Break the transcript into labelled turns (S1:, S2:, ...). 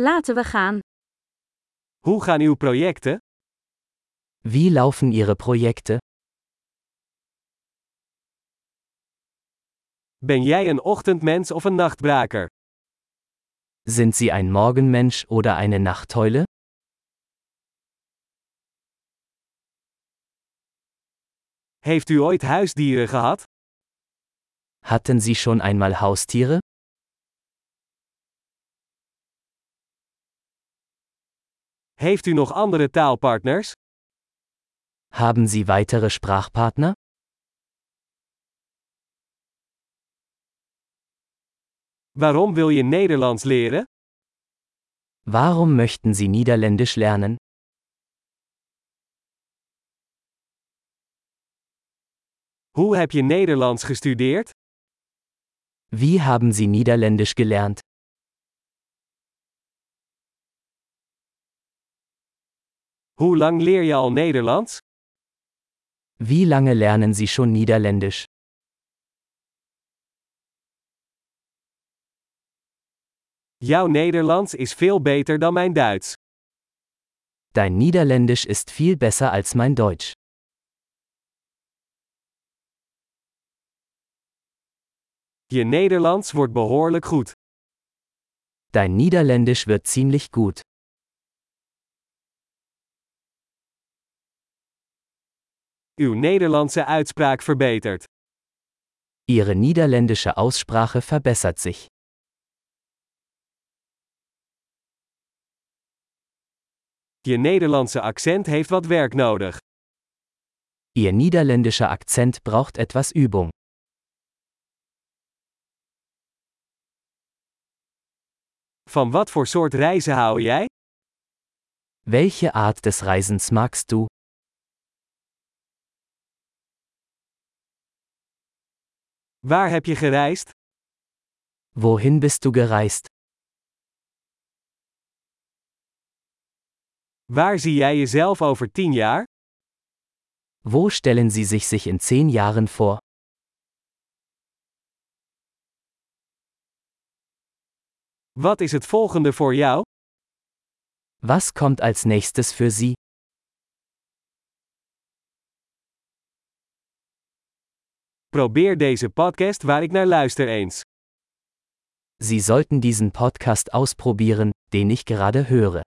S1: Laten we gaan.
S2: Hoe gaan uw projecten?
S3: Wie laufen Ihre Projekte?
S2: Ben jij een ochtendmens of een nachtbraker?
S3: Sind Sie ein Morgenmensch oder eine Nachteule?
S2: Heeft u ooit huisdieren gehad?
S3: Hatten Sie schon einmal Haustiere?
S2: Heeft u nog andere taalpartners?
S3: Haben Sie weitere Sprachpartner?
S2: Waarom wil je Nederlands leren?
S3: Warum möchten Sie Niederländisch lernen?
S2: Hoe heb je Nederlands gestudeerd?
S3: Wie haben Sie Niederländisch gelernt?
S2: Hoe lang leer je al Nederlands?
S3: Wie lange lernen Sie schon Niederländisch?
S2: Jouw Nederlands is veel beter dan mijn Duits.
S3: Dein Niederländisch ist viel besser als mein Deutsch.
S2: Je Nederlands wordt behoorlijk goed.
S3: Dein Niederländisch wird ziemlich gut.
S2: Uw Nederlandse uitspraak verbetert.
S3: Ihre niederländische Aussprache verbessert sich.
S2: Je Nederlandse accent heeft wat werk nodig.
S3: Ihr niederländischer Akzent braucht etwas Übung.
S2: Van wat voor soort reizen hou jij?
S3: Welche Art des Reisens magst du?
S2: Waar heb je gereisd?
S3: Wohin bist du gereist?
S2: Waar zie jij jezelf over 10 jaar?
S3: Wo stellen Sie sich sich in zehn Jahren vor?
S2: Wat is het volgende voor jou?
S3: Was kommt als nächstes für Sie?
S2: Probeer deze podcast waar ik naar luister eens.
S3: Sie sollten diesen Podcast ausprobieren, den ich gerade höre.